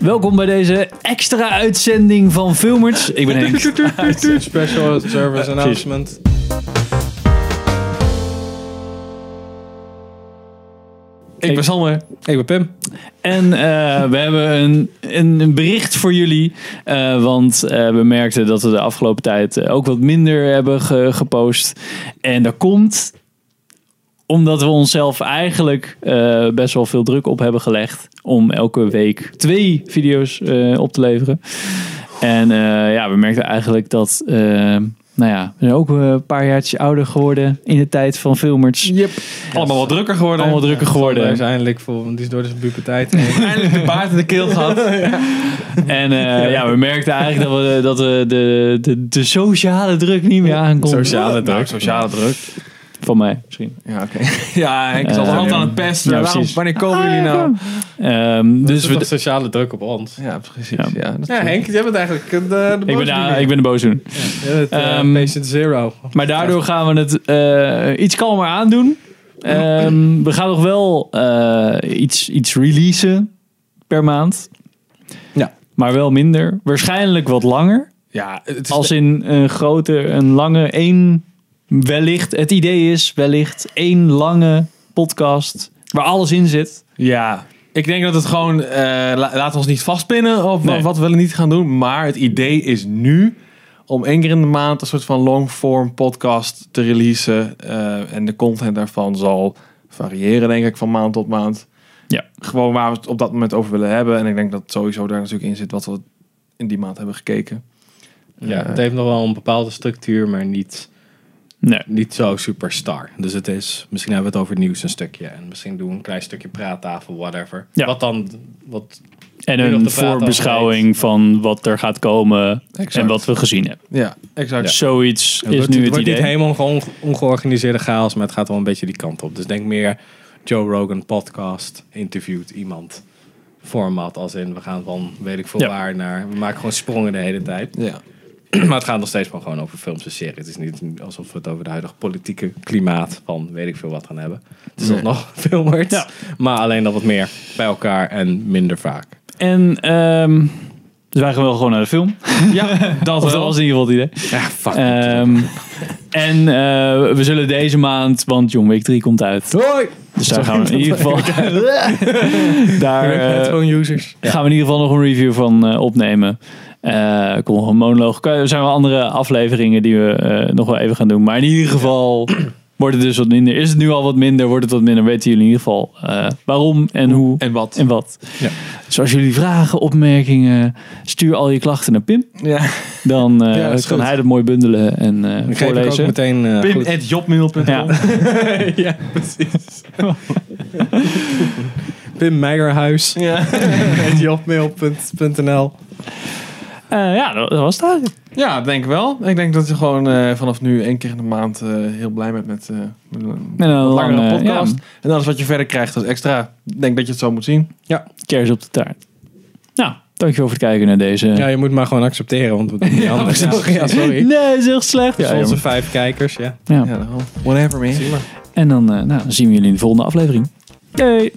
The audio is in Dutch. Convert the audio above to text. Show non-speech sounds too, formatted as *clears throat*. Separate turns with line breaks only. Welkom bij deze extra uitzending van Filmers. Ik ben Henk.
*laughs* Special service announcement. Ik ben Sander. Ik ben Pim.
En eh, we hebben een, een, een bericht voor jullie. eh, want eh, we merkten dat we de afgelopen tijd eh, ook wat minder hebben ge- gepost. En dat komt omdat we onszelf eigenlijk eh, best wel veel druk op hebben gelegd. Om elke week twee video's eh, op te leveren. En eh, ja, we merkten eigenlijk dat. eh, nou ja, we zijn ook eh, een paar jaartjes ouder geworden in de tijd van filmers.
Yep. Allemaal wat drukker geworden.
Allemaal drukker geworden.
Hij is eindelijk vol, want die is door de *laughs* puberteit. heen.
eindelijk de baard in de keel gehad.
*laughs*
*laughs* En eh, ja, we merkten eigenlijk dat we, dat we de, de, de sociale druk niet meer aankonden.
Sociale druk.
Nou, sociale druk.
Van mij, misschien.
Ja, oké. ja, ik zat
Eh,
dus
altijd aan het pesten.
ja,
Waarom-
precies.
wanneer komen
Ah,
jullie nou?
Ehm,
Dus
dus
we
we,
sociale druk op ons.
Ja, precies.
Ja.
Ja, dat-
Ja, Henk, jij bent eigenlijk de, de
ik, ben, ja, ik ben de boosdoen.
het, eh,
Ehm,
patient zero.
Maar daardoor gaan we het eh, iets kalmer aandoen. Ehm, we gaan nog wel eh, iets, iets releasen per maand.
Ja.
Maar wel minder. Waarschijnlijk wat langer.
Ja, het is
Als in een grote, een lange, één, wellicht, het idee is wellicht één lange podcast waar alles in zit.
Ja. Ik denk dat het gewoon, eh, la- laten we ons niet vastpinnen of
Nee.
wat we willen niet gaan doen. Maar het idee is nu om één keer in de maand een soort van long-form podcast te releasen. eh, en de content daarvan zal variëren, denk ik, van maand tot maand.
Ja.
Gewoon waar we het op dat moment over willen hebben. En ik denk dat sowieso daar natuurlijk in zit wat we in die maand hebben gekeken.
ja,
Eh,
het heeft nog wel een bepaalde structuur, maar niet,
Nee.
niet zo superstar. Dus het is, misschien hebben we het over het nieuws een stukje. En misschien doen we een klein stukje praattafel, whatever.
Ja.
Wat dan, wat,
En
Nu nog
een
te praten
voorbeschouwing van wat er gaat komen en wat we gezien hebben.
Ja, exact.
Zoiets
Het
is
wordt,
nu
het
het
wordt
idee.
niet helemaal onge ongeorganiseerde chaos, maar het gaat wel een beetje die kant op. Dus denk meer Joe Rogan podcast, interviewt iemand format. Als in, we gaan van weet ik veel
Ja.
waar naar. We maken gewoon sprongen de hele tijd.
Ja.
*clears throat* maar het gaat nog steeds wel gewoon over films en series. Het is niet alsof we het over de huidige politieke klimaat van weet ik veel wat gaan hebben. Het is *laughs*
Nee.
alsnog filmers,
Ja.
maar alleen dan wat meer bij elkaar en minder vaak.
En ehm, dus wij gaan wel gewoon naar de *laughs* film.
Ja,
Dat, dat was in ieder geval het idee.
Ja, fuck.
Ehm, en eh, we zullen deze maand, want John Wick 3 komt uit.
Hoi!
Dus daar gaan we in ieder geval... *laughs* daar, eh,
Gewoon users.
Gaan we in ieder geval nog een review van eh, opnemen. Eh, er komt nog een monoloog. Er zijn wel andere afleveringen die we eh, nog wel even gaan doen. Maar in ieder geval *clears throat* wordt het dus wat minder. Is het nu al wat minder? Wordt het wat minder? Weten jullie in ieder geval eh, waarom en hoe
En wat?
en wat.
Ja.
Dus als jullie vragen, opmerkingen, stuur al je klachten naar Pim.
Ja.
Dan eh,
Ja, is
kan
goed.
hij dat mooi bundelen en eh,
Dan geef ik ook
voorlezen.
meteen... eh, goed.
Pim.jobmail.com
Ja.
ja, precies.
Pim *laughs* Meijerhuis.
*laughs* Ja.
jobmail.nl.
Eh, ja, dat dat was het eigenlijk.
ja, denk wel. Ik denk dat je gewoon eh, vanaf nu één keer in de maand eh, heel blij bent met, eh, met een
En een
langere
lange,
podcast.
ja.
En alles wat je verder krijgt als extra. Ik denk dat je het zo moet zien.
Kers op de taart. Nou, dankjewel voor het kijken naar deze.
Ja, je moet maar gewoon accepteren, want we doen niet anders.
precies.
Ja, sorry.
Nee, dat is echt slecht.
Dus
Ja,
onze
jongen.
vijf kijkers, ja.
Ja.
Ja, dan wel. whatever man.
Zie maar.
En dan, eh, nou, dan zien we jullie in de volgende aflevering. Yay!